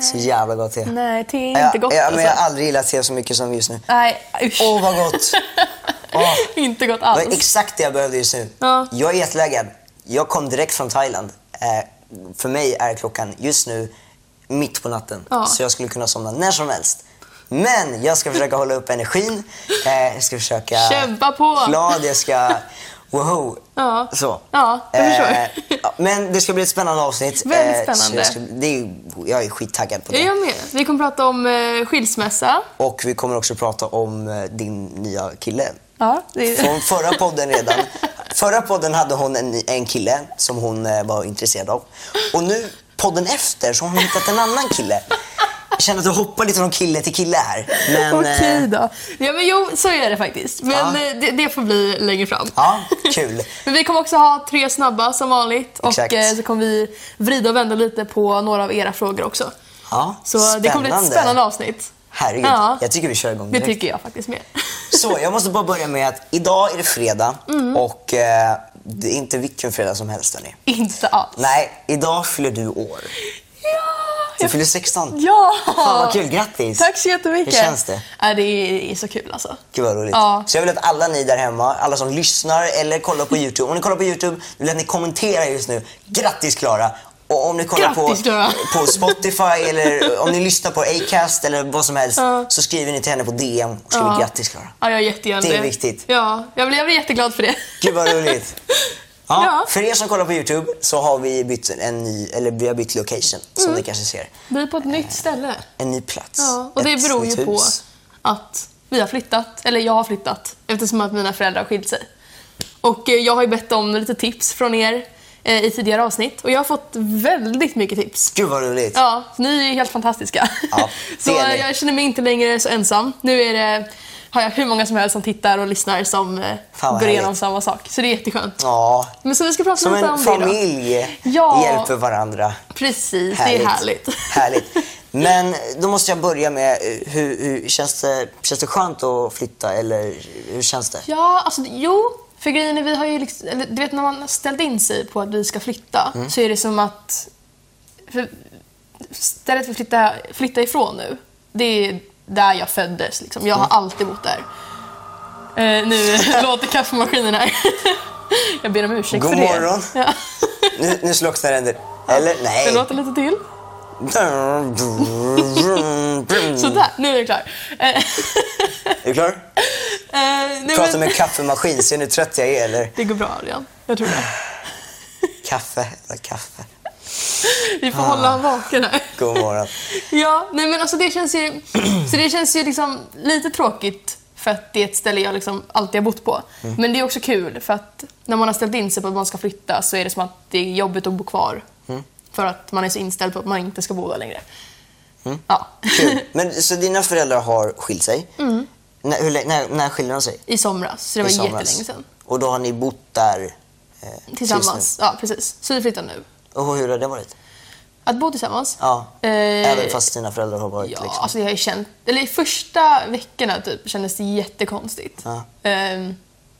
Så jävla gott te. Nej, te är inte gott jag, jag, men jag har alltså. aldrig gillat te så mycket som just nu. Nej, usch. Åh, vad gott! Åh. Inte gott Det var alls. exakt det jag behövde just nu. Ja. Jag är jetlaggad. Jag kom direkt från Thailand. Eh, för mig är klockan just nu mitt på natten. Ja. Så jag skulle kunna somna när som helst. Men jag ska försöka hålla upp energin. Eh, jag ska försöka... Kämpa på! Glad, jag ska... Woho! Ja. Så. Eh, Ja, jag förstår. ja, men det ska bli ett spännande avsnitt. Väldigt Eh, så spännande. Jag, ska, det är, ju- jag är skittaggad på Är det. jag med? Vi kommer prata om eh, skilsmässa. Och vi kommer också prata om eh, din nya kille. Ja, det är... Från förra podden redan. Förra podden hade hon en, en kille som hon eh, var intresserad av. Och nu, podden efter, så har hon hittat en annan kille. Jag känner att du hoppar lite från kille till kille här. Men, eh, Okej då. Ja, men jo, så är det faktiskt. Men Ja. eh, det, det får bli längre fram. Ja, kul. men vi kommer också ha tre snabba som vanligt. Och Exakt. eh, så kommer vi vrida och vända lite på några av era frågor också. Ja, Så det kommer bli ett spännande avsnitt. Herregud, Ja. jag tycker vi kör igång Det direkt. tycker Mm. jag faktiskt med. Så, jag måste bara börja med att idag är det fredag och eh, det är inte vilken fredag som helst. Hörni. Inte alls. Nej, idag fyller du år. Du Ja! fyller 16. Ja! Fan vad kul, grattis! Tack så jättemycket. Hur känns det? Ja, det är- är så kul alltså. Gud vad roligt. Ja. Så jag vill att alla ni där hemma, alla som lyssnar eller kollar på YouTube. Om ni kollar på YouTube, vill jag att ni kommenterar just nu. Grattis Klara! Och om ni kollar Grattis, Klara. på, på Spotify eller om ni lyssnar på Acast eller vad som helst Ja. så skriver ni till henne på DM och skriver Ja. grattis Klara. Ja, jag är jättegärna Det är viktigt. Ja, jag blir, jag blir jätteglad för det. Gud vad roligt. Ja, Ja. För er som kollar på YouTube så har vi bytt en ny, eller vi har bytt location som ni kanske ser. Vi är på ett nytt ställe. En ny plats. Mm. Ja, och det ett beror nytt ju på hus. att vi har flyttat, eller jag har flyttat, eftersom att mina föräldrar har skilt sig. Och eh, jag har ju bett om lite tips från er eh, i tidigare avsnitt och jag har fått väldigt mycket tips. Gud vad roligt. Ja, ni är ju helt fantastiska. Ja, så det är ni. eh, jag känner mig inte längre så ensam. Nu är det, har jag hur många som helst som tittar och lyssnar som eh, Fan, vad går igenom härligt. samma sak. Så det är jätteskönt. Ja, Men så vi ska prata Som lite om en det idag. familj Ja. hjälper varandra. Precis, det är härligt. härligt. Men då måste jag börja med, eh, hur, hur känns, det, känns det skönt att flytta eller hur känns det? Ja, alltså jo. För grejen är, vi har ju liksom, eller, du vet när man ställde in sig på att vi ska flytta Mm. så är det som att för stället vi flyttar flytta ifrån nu, det är där jag föddes. Liksom. Jag har Mm. alltid bott där. Eh, nu låter kaffemaskinen här. jag ber om ursäkt God för morgon. det. Ja. Nu, nu slocknar den. där. Eller det nej. låter lite till. Mm, Sådär, nu är jag klar. Eh, Är du klar? eh, nej, Pratar men- med en kaffemaskin. Ser ni hur trött jag är eller? Det går bra Adrian, jag tror det. Kaffe, eller kaffe. Vi får hålla honom vaken här. Ah. God morgon. Ja, nej men alltså det känns ju, så det känns ju liksom lite tråkigt för att det är ett ställe jag liksom alltid har bott på. Mm. Men det är också kul för att när man har ställt in sig på att man ska flytta så är det som att det är jobbigt att bo kvar. Mm. För att man är så inställd på att man inte ska bo där längre. Ja. Mm. Kul. Men så dina föräldrar har skilt sig? När, hur, lä- när, när skilde de sig? I somras, så Mm. det var I somras. jättelänge sedan. Och då har ni bott där? eh, Tillsammans. tills Ja, precis. Så vi flyttar nu. nu. Och hur har det varit? Att bo tillsammans. Ja. Eh, Även fast dina föräldrar har varit Ja, liksom. alltså jag har ju känt... Eller i första veckorna typ kändes det jättekonstigt. Ja. Ehm,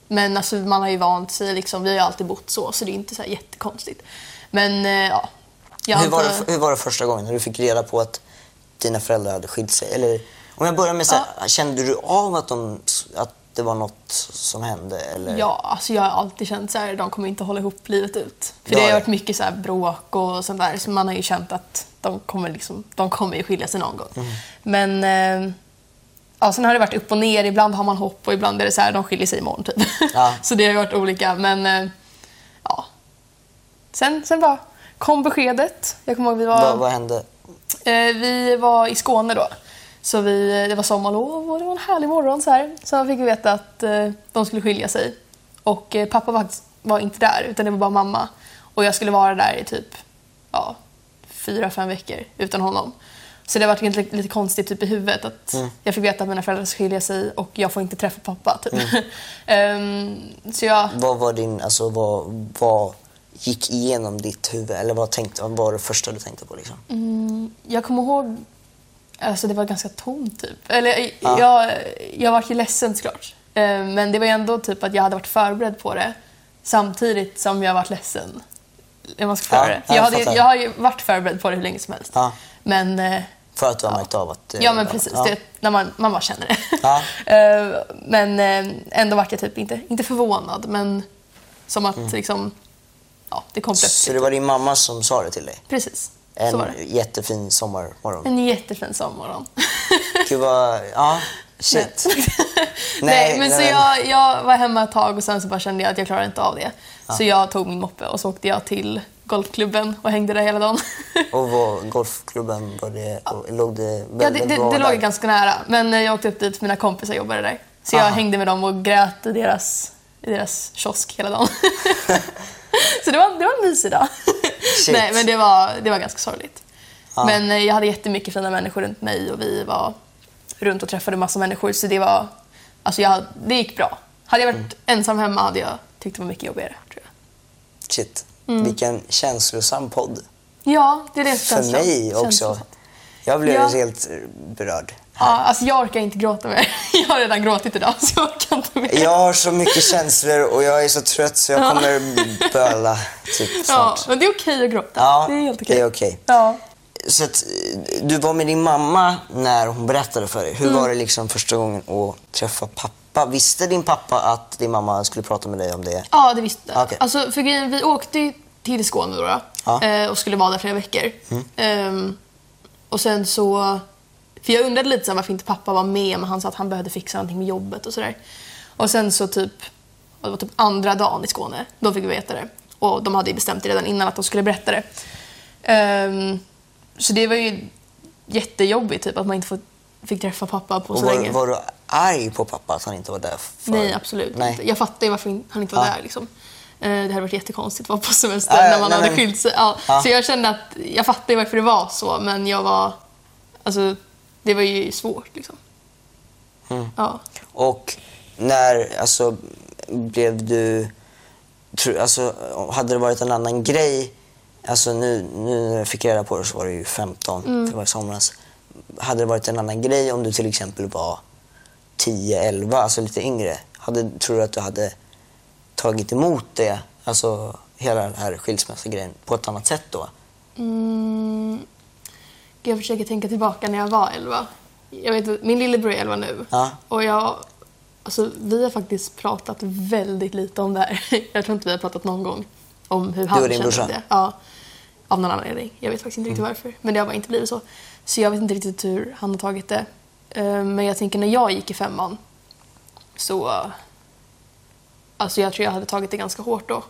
men alltså man har ju vant sig liksom. Vi har ju alltid bott så, så det är inte så här jättekonstigt. Men eh, ja. Jag hur, var antar- det, hur var det första gången när du fick reda på att dina föräldrar hade skilt sig? Eller, om jag börjar med så här, kände du av att, de, att det var något som hände? Eller? Ja, alltså jag har alltid känt så här, de kommer inte hålla ihop livet ut. För Ja, det har ju ja. varit mycket så här bråk och sånt där, så man har ju känt att de kommer, liksom, de kommer ju skilja sig någon gång. Mm. Men eh, ja, sen har det varit upp och ner, ibland har man hopp och ibland är det så här, de skiljer sig imorgon typ. Ja. så det har ju varit olika, men eh, ja. Sen, sen bara kom beskedet. Jag kommer ihåg vi var... Vad, vad hände? Eh, vi var i Skåne då. Så vi, det var sommarlov och det var en härlig morgon. Så här. Sen fick vi veta att eh, de skulle skilja sig. Och eh, pappa var, var inte där, utan det var bara mamma. Och jag skulle vara där i typ ja, fyra, fem veckor utan honom. Så det var lite, lite konstigt typ, i huvudet att jag fick veta att mina föräldrar ska skilja sig och jag får inte träffa pappa. Typ. Ehm, så jag... Vad var din, alltså vad, vad gick igenom ditt huvud? Eller vad, tänkte, vad var det första du tänkte på liksom? Mm. jag kommer ihåg Alltså det var ganska tomt typ. Eller jag, jag var ju ledsen såklart. Eh, Men det var ju ändå typ att jag hade varit förberedd på det samtidigt som jag varit ledsen. hur man ska förklara Ja, det. jag Jag, hade, fattar. jag har ju varit förberedd på det hur länge som helst. Ja. Men, eh, För att du har märkt av att... eh, ja men precis, Ja. det, när man, man bara känner det. Ja. Eh, men eh, ändå vart jag typ inte, inte förvånad, men som att liksom, ja, det kom plötsligt. Mm. Så det var din mamma som sa det till dig? Precis, så var En det. Mm. jättefin sommarmorgon. En jättefin sommarmorgon. Gud vad... Ja, shit. Nej, men nej, så men- jag, jag var hemma ett tag och sen så bara kände jag att jag klarade inte av det. Så jag tog min moppe och så åkte jag till golfklubben och hängde där hela dagen. Och var golfklubben, var det, och, låg det väldigt ja, det det, bra det där? låg ganska nära, men eh, jag åkte upp dit för mina kompisar jobbade där. Så jag Aha. hängde med dem och grät i deras, i deras kiosk hela dagen. så det var, det var en mysig dag. Shit. Ah. Nej, men det var, det var ganska sorgligt. Ja. Men eh, jag hade jättemycket fina människor runt mig och vi var runt och träffade massa människor så det var... Alltså jag, det gick bra. Hade jag varit Mm. ensam hemma hade jag tyckt det var mycket jobbigare, tror jag. Shit. Mm. Vilken känslosam podd. Ja, det är det För känslan- mig också. känslan. Jag blev Ja. helt eh, berörd. Ja, alltså jag orkar inte gråta mer. Jag har redan gråtit idag så jag orkar inte mer. Jag har så mycket känslor och jag är så trött så jag kommer böla typ Ja, snart. men det är okej att gråta. Ja, det är helt okej. det är okej. Ja. Så att, eh, du var med din mamma när hon berättade för dig. Hur Mm. var det liksom första gången att träffa pappa? Visste din pappa att din mamma skulle prata med dig om det? ja, det visste jag. Okej. Alltså, för grejen, vi åkte ju till Skåne då, då Ja. Mm. eh, och skulle vara där flera veckor. Ehm, och sen så... För jag undrade lite så här, varför inte pappa var med, men han sa att han behövde fixa någonting med jobbet och sådär. Och sen så typ... och Det var typ andra dagen i Skåne. Då fick vi veta det. Och de hade ju bestämt det redan innan att de skulle berätta det. Ehm, så det var ju jättejobbigt typ att man inte får, fick träffa pappa på Och så var, länge. var du arg på pappa att han inte var där? För... Nej, absolut Nej. inte. Jag fattar ju varför in- han inte var Ja. där. Liksom. Eh, Det hade varit jättekonstigt att vara på semester Ja, ja, när man nej, hade men- skilt sig. Ja. Ja. Så jag kände att jag fattar ju varför det var så, men jag var... Alltså, det var ju svårt liksom. Mm. Ja. Och när, alltså, blev du... tro- Alltså, hade det varit en annan grej, alltså nu, nu när jag fick reda på det så var det ju 15, Mm. för det var i somras. Hade det varit en annan grej om du till exempel var 10, 11, alltså lite yngre? Hade, tror du att du hade tagit emot det, alltså hela den här skilsmässogrejen, på ett annat sätt då? Mm. Jag försöker tänka tillbaka när jag var 11. Jag vet, inte, min lillebror är 11 nu. Ja. Och jag, alltså, vi har faktiskt pratat väldigt lite om det här. Jag tror inte vi har pratat någon gång om hur han och din kände brorsa? Mm. det. Ja, av någon anledning. Jag vet faktiskt inte riktigt varför. Men det har bara inte blivit så. Så jag vet inte riktigt hur han har tagit det. Eh, Men jag tänker när jag gick i femman så... Alltså jag tror jag hade tagit det ganska hårt då.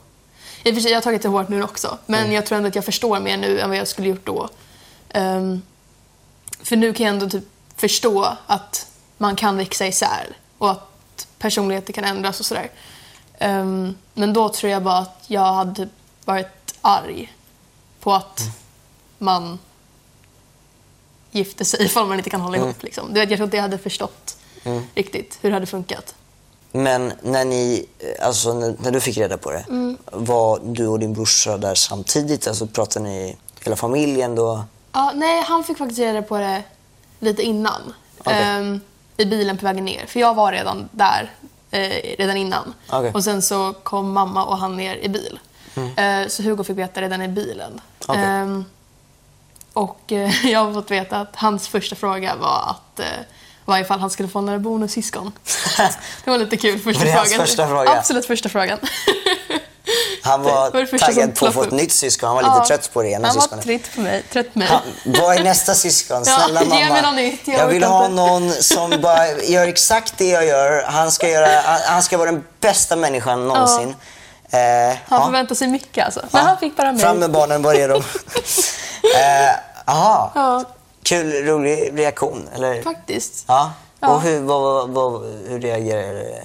I och för sig, jag har tagit det hårt nu också. Men Mm. jag tror ändå att jag förstår mer nu än vad jag skulle gjort då. Ehm, för nu kan jag ändå typ förstå att man kan växa isär och att personligheter kan ändras och sådär. Ehm, men då tror jag bara att jag hade typ varit arg på att man gifter sig ifall man inte kan hålla ihop. Liksom. Du vet, jag tror inte jag hade förstått riktigt hur det hade funkat. Men när ni, alltså när, när du fick reda på det, Mm. var du och din brorsa där samtidigt? Alltså pratade ni hela familjen då? Ja, nej, han fick faktiskt reda på det lite innan. Okej. Ehm, I bilen på vägen ner. För jag var redan där eh, redan innan. Okej. Och sen så kom mamma och han ner i bil. Eh, så Hugo fick veta redan i bilen. Mm. Okej. Ehm, och eh, jag har fått veta att hans första fråga var att eh, var ifall han skulle få några bonussyskon. Det var lite kul. Första Var det frågan. hans första fråga? Absolut första frågan. Han var, Det var det första som taggad på att få ploppade ett upp. nytt syskon, han var lite Ja. trött på det ena Han var syskonet. trött på mig. Trött på mig. Han, vad är nästa syskon? Ja, Snälla ge mig mamma. något nytt, jag jag vill orkar ha inte. någon som bara gör exakt det jag gör. Han ska, göra, han, han ska vara den bästa människan någonsin. Eh, Han ja. förväntar sig mycket alltså. Men han fick bara mig. Fram med barnen, var är de? eh, aha. Ja. Kul, rolig reaktion, eller? Faktiskt. Ja. Ja. Och hur, vad, vad, vad, hur reagerade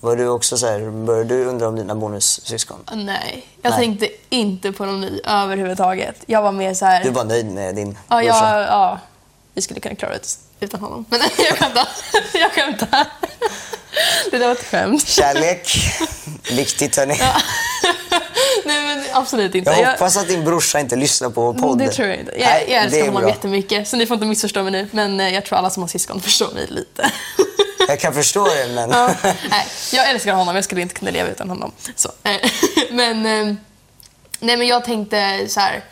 Var du också så här, började du undra om dina bonussyskon? Nej, jag Nej. tänkte inte på någon ny överhuvudtaget. Jag var mer så här... Du var nöjd med din ja, jag, brorsa? ja, vi skulle kunna klara det utan honom. Men jag skämtar. jag skämtar. Det där var ett skämt. Kärlek, viktigt hörni. Nej, men absolut inte. Jag hoppas att din brorsa inte lyssnar på Jag- podden. Mm, det tror jag inte. Jag, Nej, jag älskar det är honom bra. jättemycket, så ni får inte missförstå mig nu. Men eh, jag tror alla som har syskon förstår mig lite. Jag kan förstå det, men... Ja. Nej, jag älskar honom. Jag skulle inte kunna leva utan honom. Så. eh, Men, eh, Nej men jag tänkte så här,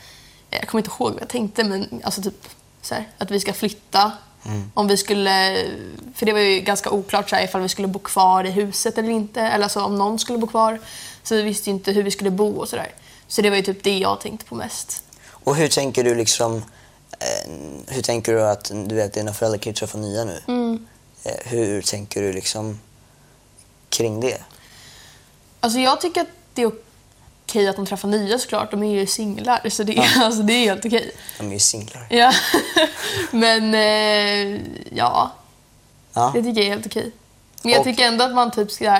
jag kommer inte ihåg vad jag tänkte men alltså typ så här, att vi ska flytta. Mm. Om vi skulle, för det var ju ganska oklart så här, ifall vi skulle bo kvar i huset eller inte. Eller alltså om någon skulle bo kvar. Så vi visste ju inte hur vi skulle bo och sådär. Så det var ju typ det jag tänkte på mest. Och hur tänker du liksom, eh, hur tänker du att, du vet dina föräldrar kan ju träffa nya nu. Mm. Eh, hur tänker du liksom kring det? Alltså jag tycker att det är okej att de träffar nya såklart. De är ju singlar så det, alltså, det är helt okej. De är ju singlar. Ja. Men eh, ja, Ja. Det tycker jag är helt okej. Men jag Och- tycker ändå att man typ ska,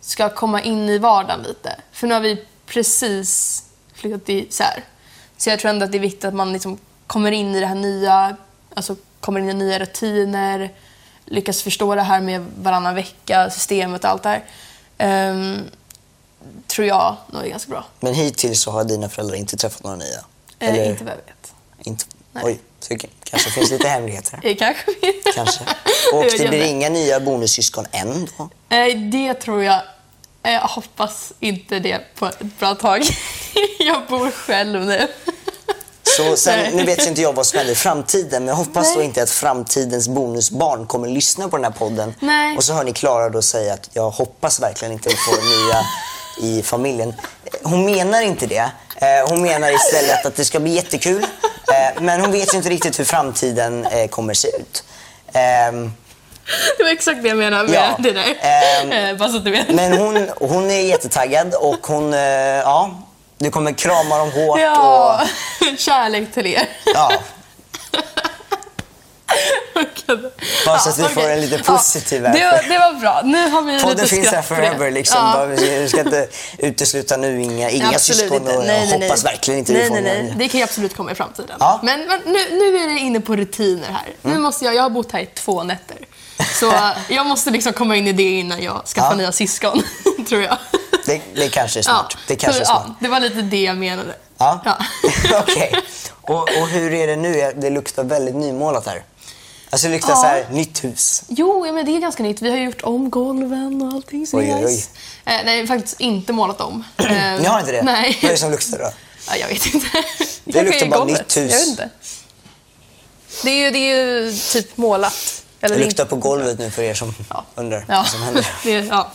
ska komma in i vardagen lite. För nu har vi precis flyttat isär. Så jag tror ändå att det är viktigt att man liksom kommer in i det här nya, alltså kommer in i nya rutiner, lyckas förstå det här med varannan vecka, systemet och allt det här. Ehm, tror jag nog är ganska bra. Men hittills så har dina föräldrar inte träffat några nya? Eh, Inte vad jag vet. inte. Nej. Oj, så k- kanske finns lite hemligheter. Eh, kanske. Kanske. Jag Och vet det blir inte. inga nya bonussyskon än då? Nej, Eh, det tror jag. Eh, Jag hoppas inte det på ett bra tag. Jag bor själv nu. Så Nej. sen, nu vet ju inte jag vad som händer i framtiden, men jag hoppas då Nej. inte att framtidens bonusbarn kommer lyssna på den här podden. Nej. Och så hör ni Klara då säga att jag hoppas verkligen inte vi får nya i familjen. Hon menar inte det. Eh, Hon menar istället att det ska bli jättekul. Eh, Men hon vet ju inte riktigt hur framtiden eh, kommer se ut. Ehm, Det var exakt det jag menade med Ja, det där. ehm, Eh, Bara så att du vet. Men hon, hon är jättetaggad och hon, eh, ja, du kommer krama dem hårt. Och, ja, kärlek till er. ja, Okej. Bara så att vi okej. får en lite positiv ja, det, här. var, det var bra. Nu har vi Podden lite finns skratt här för det. forever. Liksom. Ja. Bara, Vi ska inte utesluta nu inga, inga Absolut syskon inte. och jag hoppas verkligen inte vi nej, får nej, någon. nej. Det kan ju absolut komma i framtiden. Ja. Mm. Men, men nu, nu är det inne på rutiner här. Nu måste jag, jag har bott här i två nätter. Så eh, jag måste liksom komma in i det innan jag skaffar Ja. nya syskon, tror jag. Det, det kanske är smart. Det kanske är så, smart. Ja, det var lite det jag menade. Ja. Ja. Okej. Och, och hur är det nu? Det luktar väldigt nymålat här. Alltså det luktar Ja. så här, nytt hus. Jo, ja, men det är ganska nytt. Vi har gjort om golven och allting. Så det är Oj, oj, oj. nice. Eh, nej, faktiskt inte målat om. Eh, Ni har inte det? Nej. Vad är det som luktar då? Ja, jag vet inte. Det luktar bara nytt hus. Jag vet inte. Det är ju, det är ju typ målat. Eller Det luktar inte. på golvet nu för er som Ja. undrar Ja. vad som händer. Det, är- ja.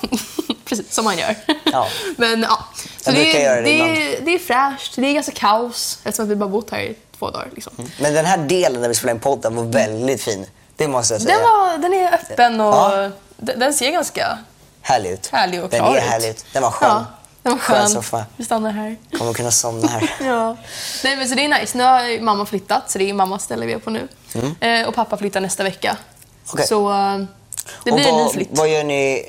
Precis, som man gör. Ja. Men ja. Så Jag det, brukar är- göra det det, är- ibland. det är fräscht. Det är ganska kaos eftersom att vi bara bott här i två dagar. Liksom. Men den här delen där vi spelade in podden var väldigt fin. Det måste jag säga. Den, var, den är öppen och Ja. den den ser ganska Härlig ut. härlig och den klar är ut. härlig ut. Den var skön. Ja, den var skön. Skön soffa. Vi stannar här. Kommer kunna somna här. Ja. Nej, men så det är nice. Nu har ju mamma flyttat, så det är mammas ställe vi är på nu. Eh, och pappa flyttar nästa vecka. Mm. Okej. Så eh, det blir och en ny vad, flytt. vad gör ni?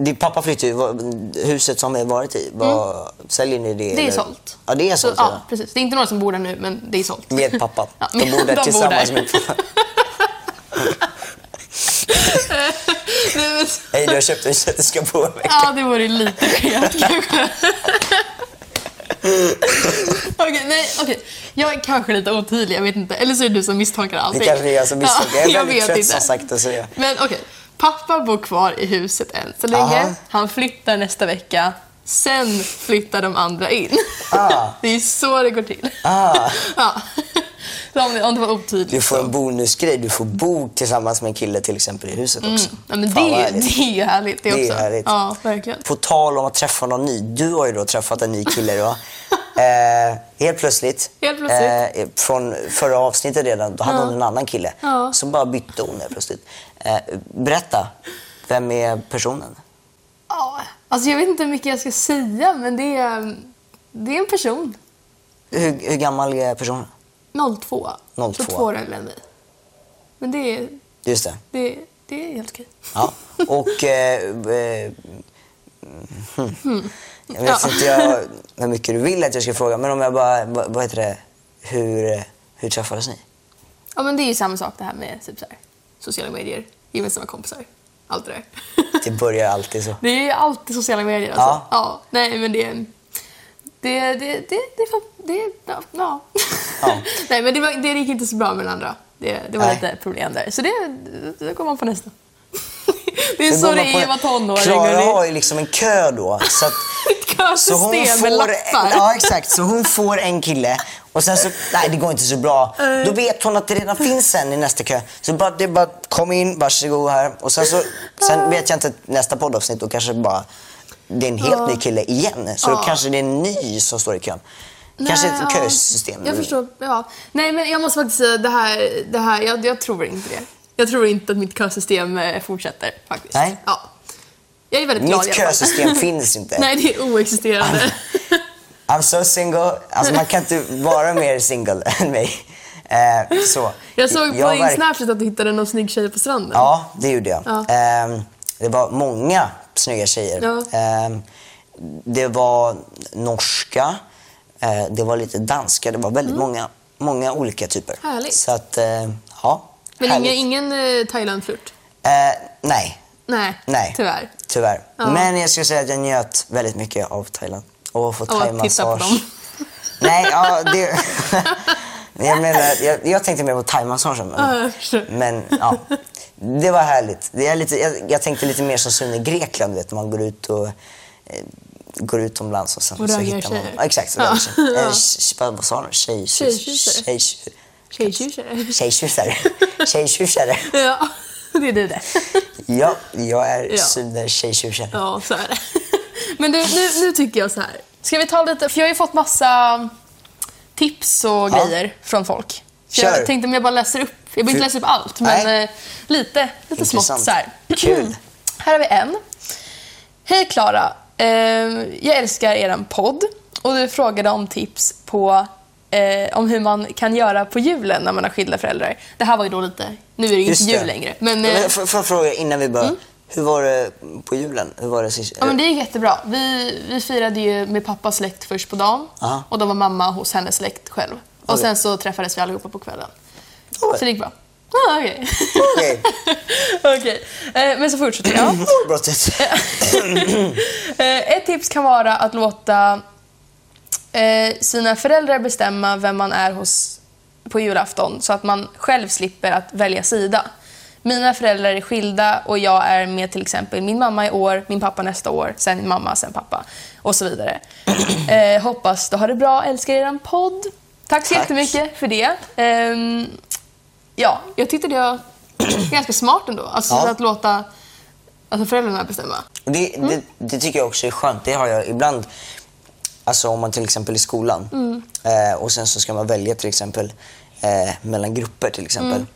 Din pappa flyttade ju. Vad- Huset som vi har varit i, vad, säljer ni det? Mm. Det är eller? sålt. Ja, det är Så, sålt. ja, Ja. precis. Det är inte några som bor där nu, men det är sålt. Med pappa. Ja, De bor där tillsammans med pappa. Nej, men så- Hej, du har köpt huset, du ska bo en vecka. Ja, det vore lite skevt kanske. Okej, nej, okej. Jag är kanske lite otydlig, jag vet inte. Eller så är det du som misstolkar allting. Det kanske är jag som misstänker. jag är väldigt trött som sagt. Och så jag. Men okej, pappa bor kvar i huset än så länge. Aha. Han flyttar nästa vecka. Sen flyttar de andra in. Ah. Det är så det går till. Ah. Ja. Så om, det, om det var otydligt. Du får en bonusgrej. Du får bo tillsammans med en kille till exempel i huset också. Mm. Ja, men det, Fan, vad är ju- härligt. det är ju härligt det Det är också. härligt. Ja, verkligen. På tal om att träffa någon ny. Du har ju då träffat en ny kille då. Eh, helt plötsligt. Helt Eh, plötsligt. från förra avsnittet redan, då hade hon en annan kille. Ja. Så bara bytte hon helt plötsligt. Eh, berätta, vem är personen? Ja, alltså jag vet inte hur mycket jag ska säga, men det är, det är en person. Hur, hur gammal är personen? 02. 02. Så två år äldre än mig. Men det är, Just det. det, det är helt okej. Ja. Och... Eh, eh, hmm. Jag vet Ja. inte jag, hur mycket du vill att jag ska fråga, men om jag bara... Vad, vad heter det? Hur, eh, hur träffades ni? Ja, men det är ju samma sak det här med typ så här, sociala medier, gemensamma kompisar, allt det där. Det börjar alltid så. det är ju alltid sociala medier alltså. Ja. Ja. nej, men det... Det, det, det, det, är fan- det, är- ja, ja. Ja. Nej, men det, var, det gick inte så bra med den andra. Det, det var Nej. lite problem där. Så det, då går man på nästa. det är Nu så går det man på- är att vara tonåring. Klara hörni. har ju liksom en kö då. Så att Kö. system Alltså, med lappar. Ja, exakt. Så hon får en kille och sen så, nej det går inte så bra. Då vet hon att det redan finns en i nästa kö. Så bara, det är bara, kom in, varsågod här. Och sen så, sen vet jag inte, nästa poddavsnitt då kanske bara, det är en helt ny kille igen. Så då kanske det är en ny som står i kön. Kanske Nej, ett ja. kösystem. Jag förstår. Ja. Nej, men jag måste faktiskt säga det här, det här jag, jag tror inte det. Jag tror inte att mitt kösystem eh, fortsätter faktiskt. Nej. Ja. Jag är väldigt glad Mitt i alla fall. kösystem finns inte. Nej, det är oexisterande. I'm so single. Alltså man kan inte vara mer single än mig. Eh, så. Jag såg på Jag din verk- Snapchat att du hittade någon snygg tjej på stranden. Ja, det gjorde jag. Ja. Ehm, det var många snygga tjejer. Ja. Ehm, det var norska, eh, det var lite danska, det var väldigt många, många olika typer. Mm. Härligt. Så att, eh, ja. men ingen, härligt. ingen eh, Thailand-flört? Eh, nej, Nej, Nej. tyvärr. tyvärr. Ja. Men jag skulle säga att jag njöt väldigt mycket av Thailand. Och få Och att titta på dem. thaimassage. Nej, ja, det... jag, menar, jag, jag tänkte mer på thaimassagen. Men... Ja, jag förstår. Men ja, det var härligt. Det är lite, jag, jag tänkte lite mer som Sune Grekland, du vet, man går ut och eh, går utomlands och sen Och så röjer hittar man... tjejer. Ja, exakt, Ja. ja. Ja. Vad, vad sa du? Tjej- Tjejtjusare. tjej- Tjejtjusare. Tjejtjusare. Tjejtjusare. Ja, det är du det. Ja, jag är Ja. Sune Tjejtjusare. Ja, så är det. Men du, nu, nu tycker jag så här. Ska vi ta lite, för jag har ju fått massa mm, tips och Ja. grejer från folk. Så Kör. jag tänkte om jag bara läser upp, jag behöver inte läsa upp allt, men Nej. eh, lite, lite smått Intressant. så här. Kul. Här har vi en. Hej Klara. Eh, jag älskar er podd och du frågade om tips på eh, om hur man kan göra på julen när man har skilda föräldrar. Det här var ju då lite, nu är det ju inte Just det. jul längre. Men, eh, Mm. får, får jag fråga innan vi börjar? Hur var det på julen? Hur var det sist? Ja, men det gick jättebra. Vi, vi firade ju med pappas släkt först på dagen Aha. och då var mamma hos hennes släkt själv. Och Oj. sen så träffades vi allihopa på kvällen. Oj. Så det gick bra. Ah, Okej. Okej. Okej. Eh, Men så fortsätter jag. Brottet. Eh, Ett tips kan vara att låta eh, sina föräldrar bestämma vem man är hos på julafton så att man själv slipper att välja sida. Mina föräldrar är skilda och jag är med till exempel min mamma i år, min pappa nästa år, sen min mamma, sen pappa och så vidare. Eh, hoppas du har det bra, älskar er podd. Tack så Tack. jättemycket för det. Ehm, ja, jag tyckte det var ganska smart ändå. Alltså Ja. så att låta alltså föräldrarna bestämma. Och Det, Mm. det, det tycker jag också är skönt. Det har jag ibland, alltså om man till exempel i skolan Mm. eh, och sen så ska man välja till exempel eh, mellan grupper till exempel. Mm.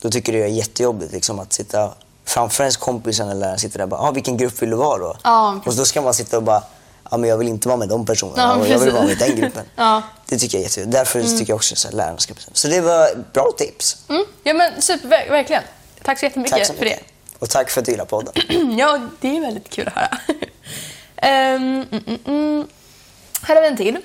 Då tycker jag det är jättejobbigt liksom, att sitta framför ens kompis eller lärare sitter där och bara, ah, vilken grupp vill du vara då? Ja. Och då ska man sitta och bara, ja men jag vill inte vara med de personerna, Ja, och jag vill precis. vara med den gruppen. Ja. Det tycker jag är jättejobbigt. Därför tycker jag också att lärarna ska bestämma. Så det var bra tips. Mm. Ja men super, ver- verkligen. Tack så jättemycket Tack så för det. mycket. Och tack för att du gillar podden. Ja, det är väldigt kul att höra. Ehm, mm, mm, mm. Här har vi en till.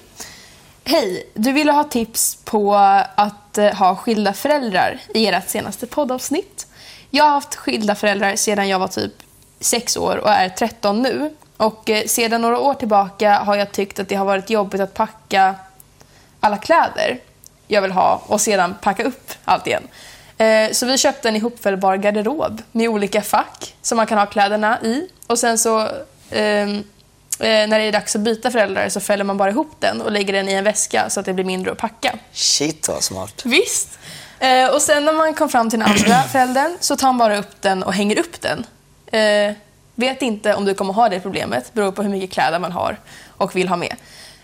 Hej, du ville ha tips på att eh, ha skilda föräldrar i ert senaste poddavsnitt. Jag har haft skilda föräldrar sedan jag var typ sex år och är 13 nu. Och eh, sedan några år tillbaka har jag tyckt att det har varit jobbigt att packa alla kläder jag vill ha och sedan packa upp allt igen. Eh, Så vi köpte en ihopfällbar garderob med olika fack som man kan ha kläderna i. Och sen så ehm, eh, när det är dags att byta föräldrar så fäller man bara ihop den och lägger den i en väska så att det blir mindre att packa. Shit vad smart. Visst! Eh, och sen när man kom fram till den andra föräldern så tar han bara upp den och hänger upp den. Eh, vet inte om du kommer ha det problemet, beror på hur mycket kläder man har och vill ha med.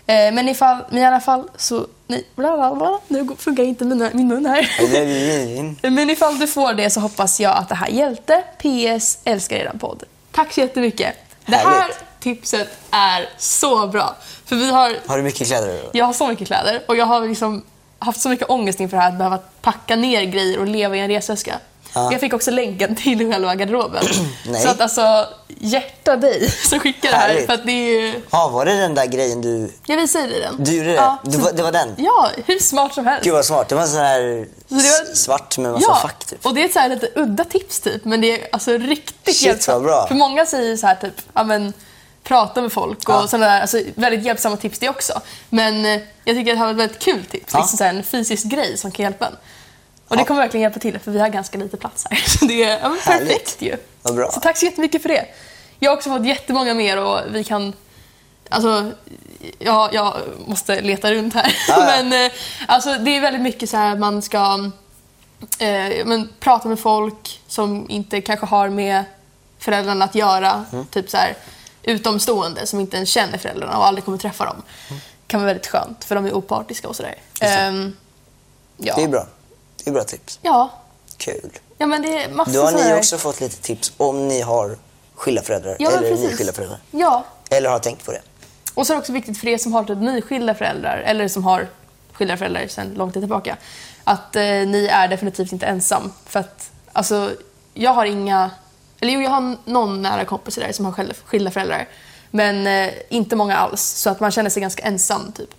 Eh, men, ifall, men i alla fall så... Nej, bla bla bla, nu går- funkar inte mina, min mun här. men ifall du får det så hoppas jag att det här hjälpte. PS, älskar er podd. Tack så jättemycket. Det här Härligt. tipset är så bra. För vi har Har du mycket kläder? jag har så mycket kläder och jag har liksom haft så mycket ångest inför det här att behöva packa ner grejer och leva i en resväska. Ja. Jag fick också länken till själva garderoben. Nej. så att alltså, hjärta dig som skickar det här. Härligt. För att det är ju... Ja, var det den där grejen du... Jag visade dig den. Du gjorde det? Ja, Du var- det var den? Ja, hur smart som helst. Gud vad smart. Det var en sån här Så det var- s- svart med massa Ja, fack typ. och det är ett så här lite udda tips typ, men det är alltså riktigt Shit, vad bra. För många säger så här typ, ja men prata med folk och Ja. sådana där, alltså väldigt hjälpsamma tips det också. Men eh, jag tycker att det här var ett väldigt kul tips, Ja. liksom så här en fysisk grej som kan hjälpa en. Och det Ja. kommer verkligen hjälpa till för vi har ganska lite plats här. Så det är ja, men Härligt. perfekt ju. Vad bra. Så tack så jättemycket för det. Jag har också fått jättemånga mer och vi kan Alltså, jag, jag måste leta runt här. Ja, ja. men eh, alltså, det är väldigt mycket så här att man ska eh, men, prata med folk som inte kanske har med föräldrarna att göra. Mm. Typ så här, utomstående som inte ens känner föräldrarna och aldrig kommer träffa dem. Mm. kan vara väldigt skönt för de är opartiska och sådär. Ehm, ja. Det är bra. Det är bra tips. Ja. Kul. ja, men det är massor Då har så här- ni också fått lite tips om ni har skilda föräldrar ja, men eller precis. ni skilda föräldrar. Ja, Eller har tänkt på det. Och så är det också viktigt för er som har typ nyskilda föräldrar, eller som har skilda föräldrar sedan lång tid tillbaka, att eh, ni är definitivt inte ensam. För att, alltså, jag har inga... Eller jo, jag har någon nära kompis där som har skilda- skilda föräldrar. Men eh, inte många alls, så att man känner sig ganska ensam. typ.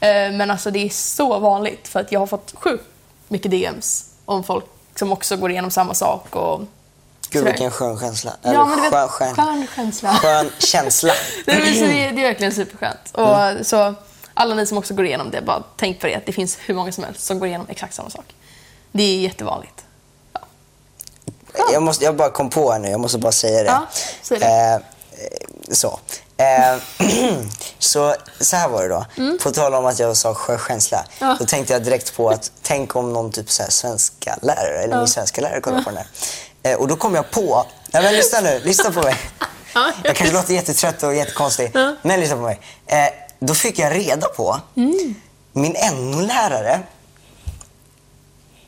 Eh, men alltså det är så vanligt, för att jag har fått sjukt mycket DMs om folk som också går igenom samma sak. Och, Gud sådär. vilken skön känsla. Eller Ja, men du vet, skön, skön, skön känsla. skön känsla. Nej, men så det, det är verkligen superskönt. Och så, alla ni som också går igenom det, bara tänk på det att det finns hur många som helst som går igenom exakt samma sak. Det är jättevanligt. Jag, måste, jag bara kom på här nu, jag måste bara säga det. Ja, säg det. Eh, eh, så. Eh, så, så här var det då. På tal om att jag sa sjökänsla. Mm. Ja. Då tänkte jag direkt på att tänk om någon typ så här svenska lärare eller min svenska lärare kollar på den här. Eh, och då kom jag på, nej men lyssna nu, lyssna på mig. Ja. Jag kanske låter jättetrött och jättekonstig, men lyssna på mig. Eh, då fick jag reda på Mm. min NO-lärare.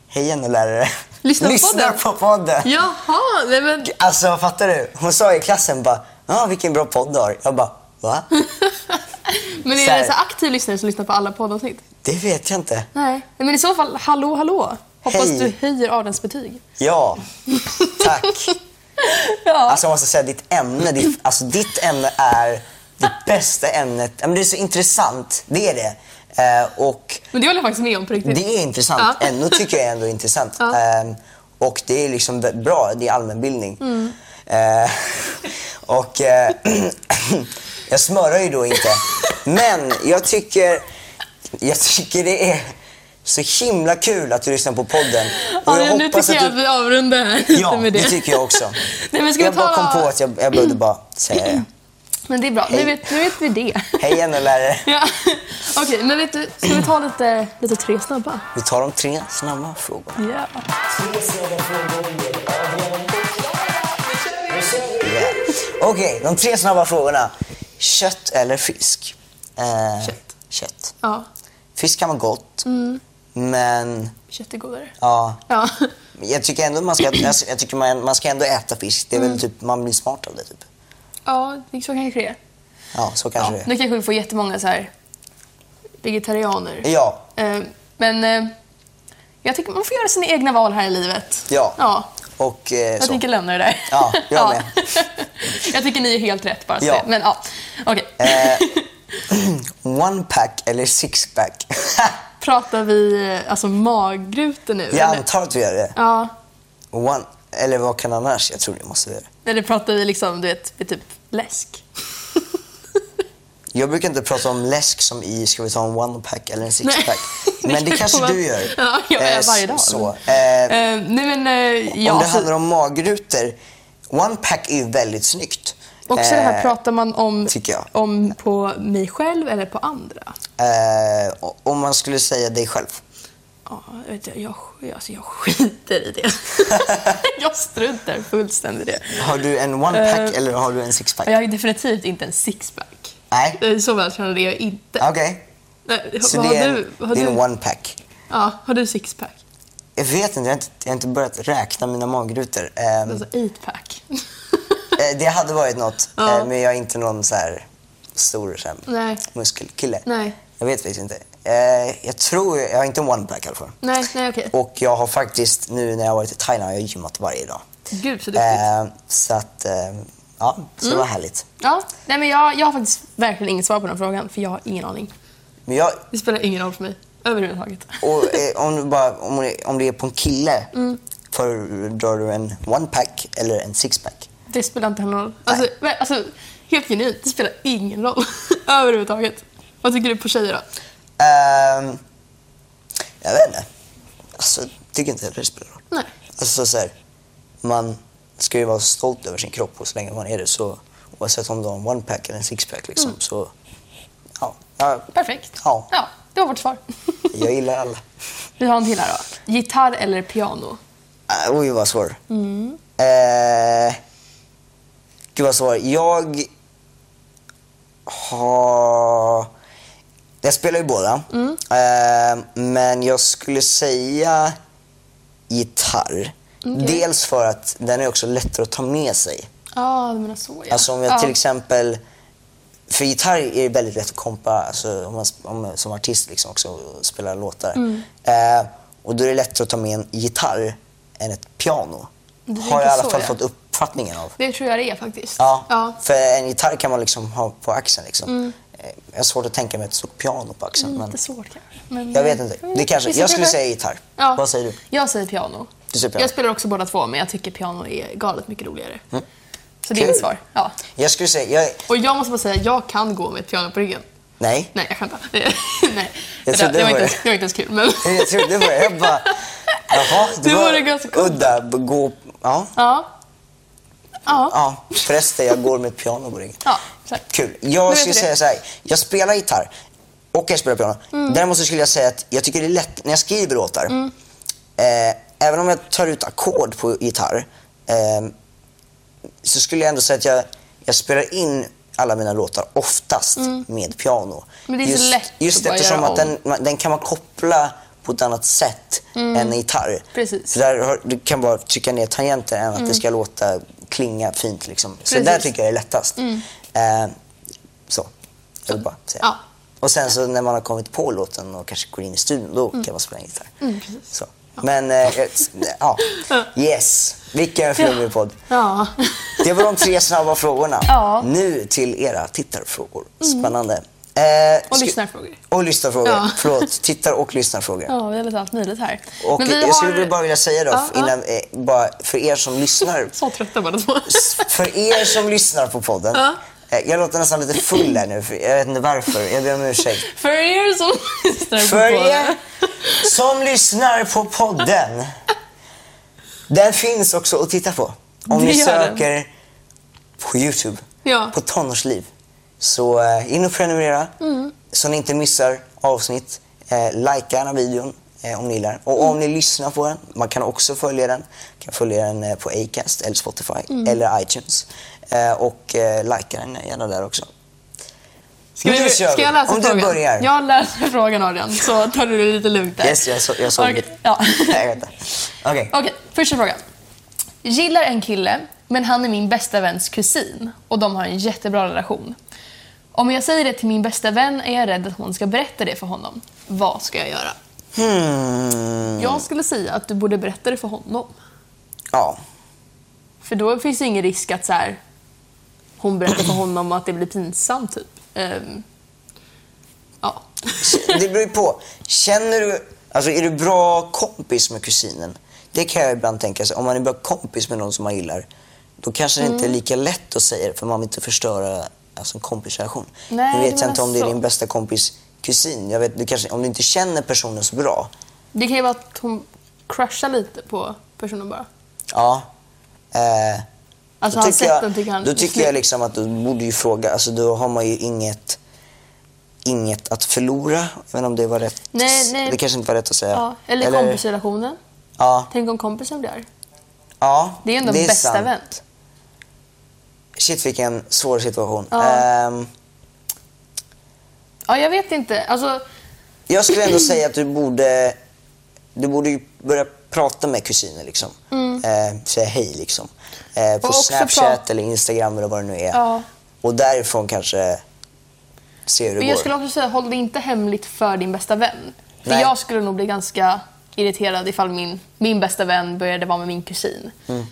Hej NO-lärare. Lyssna på podden. på podden. Jaha, nej men... Alltså fattar du? Hon sa i klassen bara ja vilken bra podd du har. Jag bara va? Men är Så här. det så aktiv lyssnare som lyssnar på alla poddavsnitt? Det vet jag inte. Nej. Men i så fall, hallå hallå! Hoppas Hej. du höjer Adens betyg. Ja, tack. Ja. Alltså jag måste säga ditt ämne, ditt, alltså, ditt ämne är det bästa ämnet. Ja, Men det är så intressant, det är det. Eh, och Men det håller jag faktiskt med om på riktigt. det är intressant. Typ. Ja. NO tycker jag ändå är intressant. Ja. Ehm, och det är liksom b- bra, det är allmänbildning. Mm. Eh, och eh, jag smörar ju då inte. Men jag tycker, jag tycker det är så himla kul att du lyssnar på podden. Och ja, nu tycker jag att du... vi avrundar här Ja, lite med det. det tycker jag också. Nej, men ska jag vi ta... bara kom på att jag, jag behövde bara säga det. Men det är bra, nu Hej. vet, nu vet vi det. Hej NO lärare. Ja. Okej, men vet du, ska vi ta lite, lite tre snabba? Vi tar de tre snabba frågorna. Ja. Yeah. Okej, de tre snabba frågorna. Kött eller fisk? Eh, Kött. kött. Ja, Fisk kan vara gott, men kött är godare. ja, Ja. jag tycker ändå man ska, jag, jag tycker man, man ska ändå äta fisk. Det är Mm. väl typ, man blir smart av det. Typ. ja, det- så kanske det är. Ja, så Ja. kanske det Nu kanske vi får jättemånga så här vegetarianer. är. Ja, Eh, Men eh, jag tycker man får göra sina egna val här i livet. Ja. ja. och eh, Jag så. tänker lämna det där. Ja, jag med. jag tycker ni är helt rätt bara så Ja. Eh. det. Men ja, okej. One pack eller six pack? Pratar vi eh, alltså magrutor nu? jag eller? antar att vi gör det. Ja. One, eller vad kan annars? Jag tror det måste vi göra. Eller pratar vi liksom, du vet, vi typ läsk? Jag brukar inte prata om läsk som i ska vi ta en one pack eller en six pack. Nej. Men det kanske du gör. Ja, jag Eh, gör varje dag. Så. Eh, Eh, nej men, eh, ja, om det så- handlar om magrutor, one pack är ju väldigt snyggt. också det Eh, här pratar man om, tycker jag. om på mig själv eller på andra. eh, o- om man skulle säga dig själv. Ja, jag, vet, inte, jag, sk- alltså, jag skiter i det. jag struntar fullständigt i det. Har du en one pack Eh, eller har du en six pack? Men Jag är definitivt inte en sixpack. Nej. Eh, Så vältränad är jag inte. Okej, Nej, så vad det är, har, en, du, har, det är en du, one pack. ja, har du sixpack? Jag vet inte, jag har inte, jag har inte börjat räkna mina magrutor. Ehm, Alltså eightpack? eh, det hade varit något, Ja. eh, men jag är inte någon så här stor så här, Nej. muskelkille. Nej. Jag vet faktiskt inte. Eh, jag tror, jag har inte en one pack i alla fall. Nej, nej okej. Och jag har faktiskt nu när jag har varit i Thailand, jag har gymmat varje dag. Gud så duktigt. Eh, så att, eh, ja, så det var härligt. Ja, nej men jag, jag har faktiskt verkligen inget svar på den frågan, för jag har ingen aning. Men jag, Det spelar ingen roll för mig, överhuvudtaget. och, eh, om, du bara, om, det- om det är på en kille, föredrar du en one pack eller en six pack? Det spelar inte heller någon roll. Alltså, men, alltså, helt genuint, det spelar ingen roll. överhuvudtaget. Vad tycker du på tjejer då? Ehm, jag vet inte. Alltså, jag tycker inte heller det spelar roll. Nej. Alltså så här, man ska ju vara stolt över sin kropp och så länge man är det så, Oavsett om du har en one-pack eller en six-pack. Liksom. Så, ja. Ja, Perfekt. Ja. ja, det var vårt svar. jag gillar alla. Vi har en till här då. Gitarr eller piano? Ah, Oj, vad svår. Mm. Eh, gud, vad svår. Jag har... Jag spelar ju båda. Eh, men jag skulle säga gitarr. Dels för att den är också lättare att ta med sig. Ja, du menar så ja. Alltså om jag ja. till exempel... För gitarr är det väldigt lätt att kompa alltså om man, om, man som artist liksom också och spelar låtar. Mm. Eh, och då är det lättare att ta med en gitarr än ett piano. Du Har jag i tänker alla så, fall ja. fått uppfattningen av. Det tror jag det är faktiskt. Ja, ja. Mm. För en gitarr kan man liksom ha på axeln. Liksom. Eh, Jag har svårt att tänka mig ett stort piano på axeln. Lite Men svårt kanske. Men, jag vet inte. Det kanske, Vissa jag skulle kanske- säga gitarr. Ja. Vad säger du? Jag säger piano. Du säger piano. Jag spelar också båda två, men jag tycker piano är galet mycket roligare. Så det är Kul. mitt svar. Ja. Jag skulle säga... Jag, Och jag måste bara säga, jag kan gå med ett piano på ryggen. nej. Nej, jag skämtar. Det- Nej. Jag det, trodde det, var det var inte, ens- det. det var inte ens kul. Men... Jag trodde på det. Jag bara... Jaha, det, Det var vore ganska coolt. udda. Gå, ja. Ja. Ja. Ja, förresten, jag går med ett piano på ryggen. Ja, så här. Kul. Nu Jag vet skulle du det. Mm. säga så här. Jag spelar gitarr och jag spelar piano. Däremot så skulle jag säga att jag tycker det är lätt när jag skriver låtar. Eh, även om jag tar ut ackord på gitarr eh, så skulle jag ändå säga att jag, jag spelar in alla mina låtar oftast med piano. Mm. Men det är så just, lätt att Just bara eftersom göra att den, man- den kan man koppla på ett annat sätt än en gitarr. Mm. Precis. För där har, du kan bara trycka ner tangenter än att det ska låta klinga fint. Liksom. Så Mm. Precis. Mm. där tycker jag är lättast. Eh, så. Jag vill bara säga. Ja. Och sen så när man har kommit på låten och kanske går in i studion, då Mm. kan man spela en gitarr. så. Men, eh, jag- ja. Yes. Vilken flummig podd. Ja. Det var de tre snabba frågorna. Ja. Mm. Nu till era tittarfrågor. Spännande. Eh, Och sku- lyssnarfrågor. Och lyssnarfrågor. Ja. Förlåt, tittar och lyssnarfrågor. Ja, vi har lite allt möjligt här. Och men vi jag skulle har... väl bara vilja säga då, Ja, ja. innan, eh, bara för er som lyssnar. Så trötta båda två. För er som lyssnar på podden. Ja. eh, Jag låter nästan lite full här nu, för jag vet inte varför. Jag ber om ursäkt. För er som lyssnar på För podden. er som lyssnar på podden. Den finns också att titta på. Om Det ni gör den. söker på Youtube, Ja. på tonårsliv. Så eh, in och prenumerera Mm. så ni inte missar avsnitt. Eh, Lajka gärna videon eh, om ni gillar den. Och Mm. om ni lyssnar på den, man kan också följa den. Man kan följa den eh, på Acast eller Spotify Mm. eller iTunes. Eh, och eh, lajka den gärna där också. Ska, Nu kör vi, ska vi. jag läsa Om du frågan? börjar. Jag läser frågan Adrian, så tar du det lite lugnt där. Yes, jag, så, jag såg Okej, det. ja. Nej, vänta. Okej. Okej, första frågan. Gillar en kille, men han är min bästa väns kusin och de har en jättebra relation. Om jag säger det till min bästa vän är jag rädd att hon ska berätta det för honom. Vad ska jag Mm. göra? Hmm. Jag skulle säga att du borde berätta det för honom. Ja. För då finns det ingen risk att så här, hon berättar för honom och att det blir pinsamt. Typ. Ehm, ja. Det beror ju på. Känner du... Alltså är du bra kompis med kusinen? Det kan jag ibland tänka sig. Om man är bra kompis med någon som man gillar, då kanske det Mm. inte är lika lätt att säga det för man vill inte förstöra alltså, en kompisrelation. nu Nej, du vet jag menar inte om det är så. din bästa kompis kusin. Jag vet, du kanske, om du inte känner personen så bra. Det kan ju vara att hon crushar lite på personen bara. Ja. Eh, Alltså då han tycker sett den jag, tycker han då är tycker snygg. jag liksom att du borde ju fråga. Alltså då har man ju inget, inget att förlora. Jag vet inte om det var rätt. Nej, nej. Det kanske inte var rätt att säga. ja. Eller, kompisrelationen. Ja, Tänk om kompisen blir arg. ja. Det är ändå är bästa sant. vän. Shit vilken svår situation. Ja. Ehm, Ja, jag vet inte. Alltså, jag skulle ändå säga att du borde, du borde ju börja prata med kusiner. Liksom. Ehm, säga hej liksom. Ehm, på Mm. också Snapchat pra- eller Instagram eller vad det nu är. Ja. Och därifrån kanske se hur det men går. jag skulle också säga, håll det inte hemligt för din bästa vän. För Nej. jag skulle nog bli ganska irriterad ifall min, min bästa vän började vara med min kusin. Mm.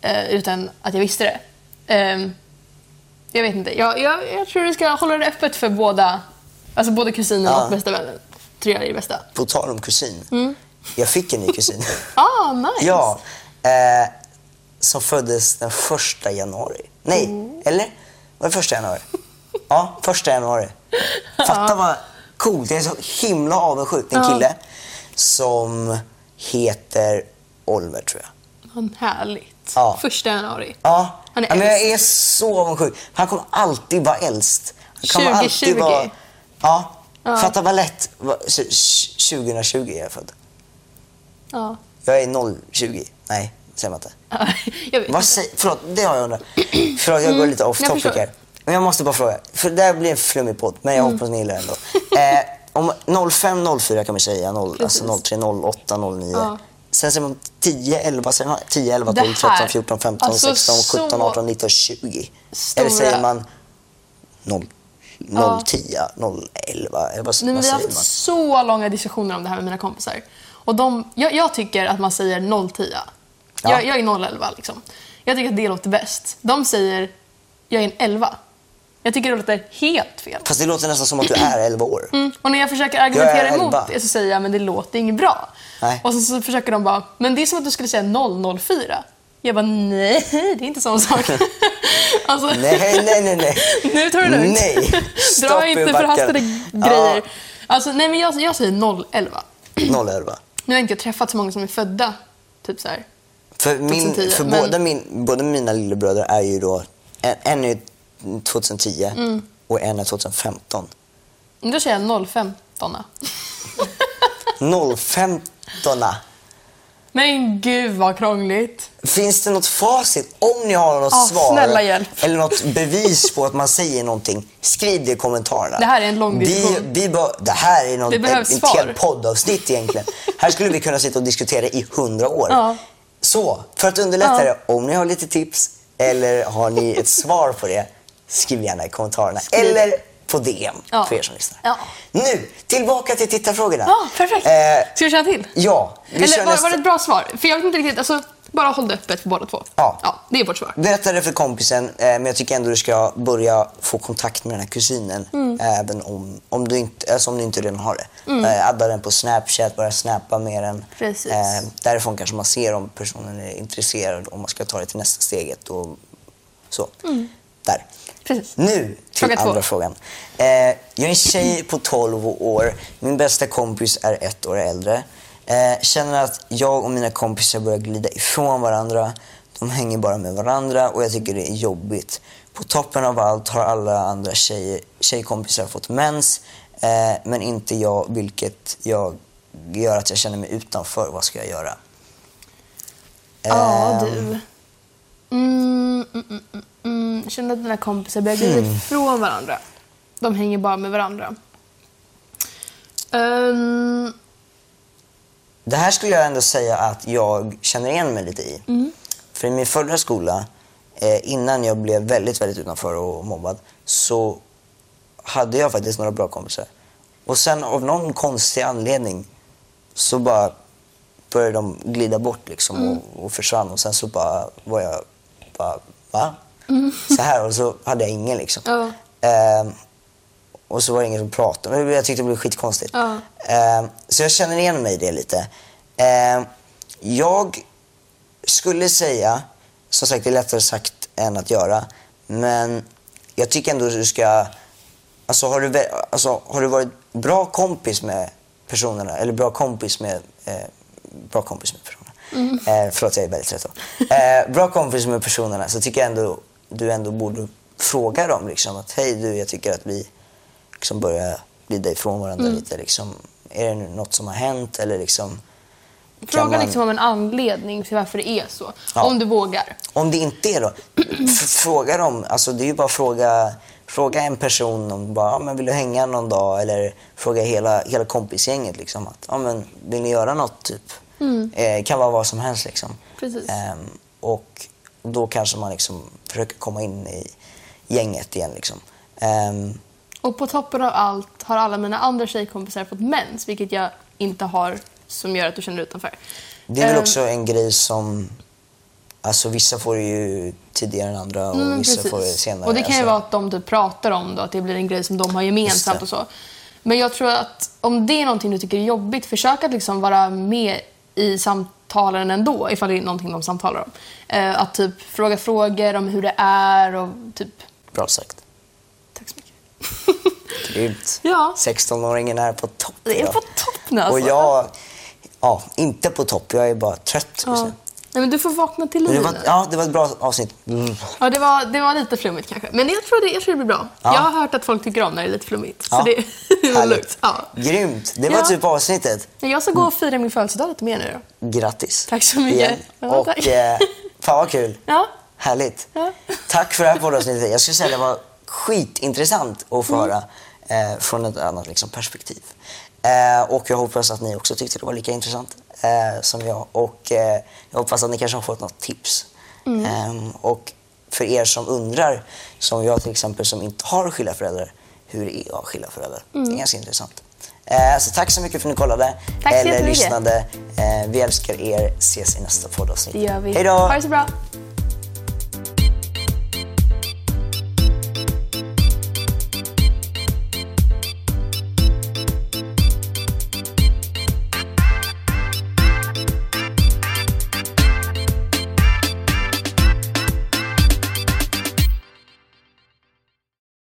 Eh, utan att jag visste det. Ehm, jag vet inte. Jag, jag, jag tror du ska hålla det öppet för båda, alltså både kusinen Ja. och bästa vännen. Tror jag är det bästa. På tal om kusin. Mm. Jag fick en ny kusin. Ah, nice! ja. Eh, som föddes den första januari. Nej, Mm. eller? Var det första januari? Ja, första januari. Fatta vad coolt. Jag är så himla avundsjuk. Det är En Ja. kille som heter Oliver, tror jag. Vad härligt. rätt. Ja. Första januari. Ja. Han är ja, men jag äldst. är så avundsjuk. Han kommer alltid vara äldst. Han kommer 2020. alltid vara... Ja. Fatta vad lätt. vad- tj- tj- 2020 är jag född. Ja. Jag är 020. Nej, säger man inte. Ja, jag vet Vad inte. säger... Förlåt, det har jag undrat. Förlåt, jag går lite off Mm. jag topic förstår. Mm. här. Men jag måste bara fråga. För det här blir en flummig podd, men jag hoppas ni gillar den då. Eh, om 05, 04 kan man säga. 0, alltså Precis. 03, 08, 09. Ja. Sen säger man 10, 11, säger man 10, 11, Det 12, 13, här- 14, 15, alltså 16, 17, så 18, 19, 20. stora- Eller säger man 0, 0, Ja. 10, 0, 11? Eller vad, Nej, men vad vi har säger haft man? så långa diskussioner om det här med mina kompisar. Och de, jag, jag tycker att man säger 010. Ja. Jag, jag är 011 liksom. Jag tycker att det låter bäst. De säger jag är en 11. Jag tycker det låter helt fel. Fast det låter nästan som att du är 11 år. Mm. Och när jag försöker argumentera elva. emot det så säger jag men det låter inget bra. Nej. Och så, så försöker de bara, men det är som att du skulle säga 004. Jag bara, nej, det är inte sån sak. alltså, Nej, nej, nej, nej. nu tar du det lugnt. Nej, stopp Dra i inte backen. förhastade Ja. grejer. Alltså, nej, men jag, jag säger 011. 011. Nu har inte jag träffat så många som är födda typ så här. För, min, 2010, för men- båda, min, båda mina lillebröder är ju då, en, en är 2010 Mm. och en är 2015. Men Då säger jag 015 015 Men gud vad krångligt. Finns det något facit? Om ni har något Ah, svar snälla hjälp. eller något bevis på att man säger någonting, skriv det i kommentarerna. Det här är en lång vi, diskussion. vi bör, Det här är något, Det behövs ett, ett svar. helt poddavsnitt egentligen. här skulle vi kunna sitta och diskutera i hundra år. Ja. Så, för att underlätta Ja. det, om ni har lite tips eller har ni ett svar på det, skriv gärna i kommentarerna. Skriv. Eller på DM Ja. för er som lyssnar. Ja. Nu, tillbaka till tittarfrågorna. Ja, perfekt. Eh, Ska vi köra till? ja, vi Eller kör var, nästa- var det ett bra svar? För jag vet inte riktigt, alltså bara håll det öppet för båda två. Ja. det är vårt svar. Berätta det för kompisen, eh, men jag tycker ändå du ska börja få kontakt med den här kusinen. eh, Även om, om, du inte, alltså om du inte redan har det. Eh, Adda den på Snapchat, börja snappa med den. Eh, Precis. därifrån kanske man ser om personen är intresserad, om man ska ta det till nästa steget. Och så. Där. Precis. Nu till Fråga två. andra frågan. Eh, jag är en tjej på 12 år. Min bästa kompis är ett år äldre. Eh, känner att jag och mina kompisar börjar glida ifrån varandra. De hänger bara med varandra och jag tycker det är jobbigt. På toppen av allt har alla andra tjejer, tjejkompisar fått mens, eh, men inte jag, vilket jag gör att jag känner mig utanför. Vad ska jag göra? Ja, du. Ehm. Mm, mm, mm, mm, mm. Jag kände att mina kompisar börjar glida Hmm. ifrån varandra. De hänger bara med varandra. Ehm, Det här skulle jag ändå säga att jag känner igen mig lite i. För i min förra skola, eh, innan jag blev väldigt, väldigt utanför och mobbad, så hade jag faktiskt några bra kompisar. Och sen av någon konstig anledning så bara började de glida bort liksom och, och försvann. Och sen så bara var jag bara, va? Så här och så hade jag ingen liksom. Ja. Ehm, och så var det ingen som pratade. Men Jag tyckte det blev skitkonstigt. Ja. Ehm, så jag känner igen mig i det lite. Ehm, jag skulle säga, som sagt det är lättare sagt än att göra, men jag tycker ändå att du ska... Alltså har du, vä- alltså, har du varit bra kompis med personerna, eller bra kompis med... Eh, bra kompis med personerna. Eh, förlåt, jag är väldigt trött. då. Eh, bra kompis med personerna så tycker jag ändå du ändå borde fråga dem liksom att hej du, jag tycker att vi liksom börjar glida ifrån varandra lite liksom. Är det något som har hänt eller liksom... kan fråga man- liksom om en anledning till varför det är så. Ja. Om du vågar. Om det inte är då, f- fråga dem. Alltså det är ju bara att fråga, fråga en person om bara, ja, men vill du hänga någon dag? Eller fråga hela, hela kompisgänget. Liksom, att, ja, men, vill ni göra något? Typ? Eh, kan vara vad som helst. Liksom. Precis. Ehm, och då kanske man liksom försöker komma in i gänget igen. Liksom. Ehm, Och på toppen av allt har alla mina andra tjejkompisar fått mens, vilket jag inte har som gör att du känner dig utanför. det är väl Ehm, också en grej som... Alltså vissa får det ju tidigare än andra och Mm, vissa precis. får det senare. Och det kan ju alltså. vara att de typ pratar om då, att det blir en grej som de har gemensamt och Just så. Men jag tror att om det är någonting du tycker är jobbigt, försök att liksom vara med i samtalen ändå, ifall det är någonting de samtalar om. Eh, att typ fråga frågor om hur det är och typ... Bra sagt. Tack så mycket. Grymt. Ja. 16-åringen är på topp Det är idag. på topp nu alltså. Och jag, ja, inte på topp. Jag är bara trött. Ja. just nu. Nej, men du får vakna till Men liv det var, nu. ja, det var ett bra avsnitt. Mm. Ja, det var, det var lite flummigt kanske. Men jag tror det, jag tror det blir bra. Ja. Jag har hört att folk tycker om när det är lite flummigt. Ja. Så det, det är Härligt. lugnt. Ja. Grymt. Det var Ja. typ avsnittet. Men Jag ska gå och fira min födelsedag lite mer nu då. Grattis. Tack så mycket. Igen. Ja, Och tack. eh, fan vad kul. Ja. Härligt. Ja. Tack för det här poddavsnittet. Jag skulle säga det var skitintressant att Mm. få höra eh, från ett annat liksom, perspektiv. Eh, och jag hoppas att ni också tyckte det var lika intressant eh, som jag. Och eh, jag hoppas att ni kanske har fått något tips. Mm. Ehm, och för er som undrar, som jag till exempel som inte har skilda föräldrar, hur det är att ha skilda föräldrar. Mm. Det är ganska intressant. Eh, så tack så mycket för att ni kollade Tack så eller jättemycket. lyssnade. Eh, vi älskar er. Ses i nästa poddavsnitt. Det gör vi. Hej då! Ha det så bra.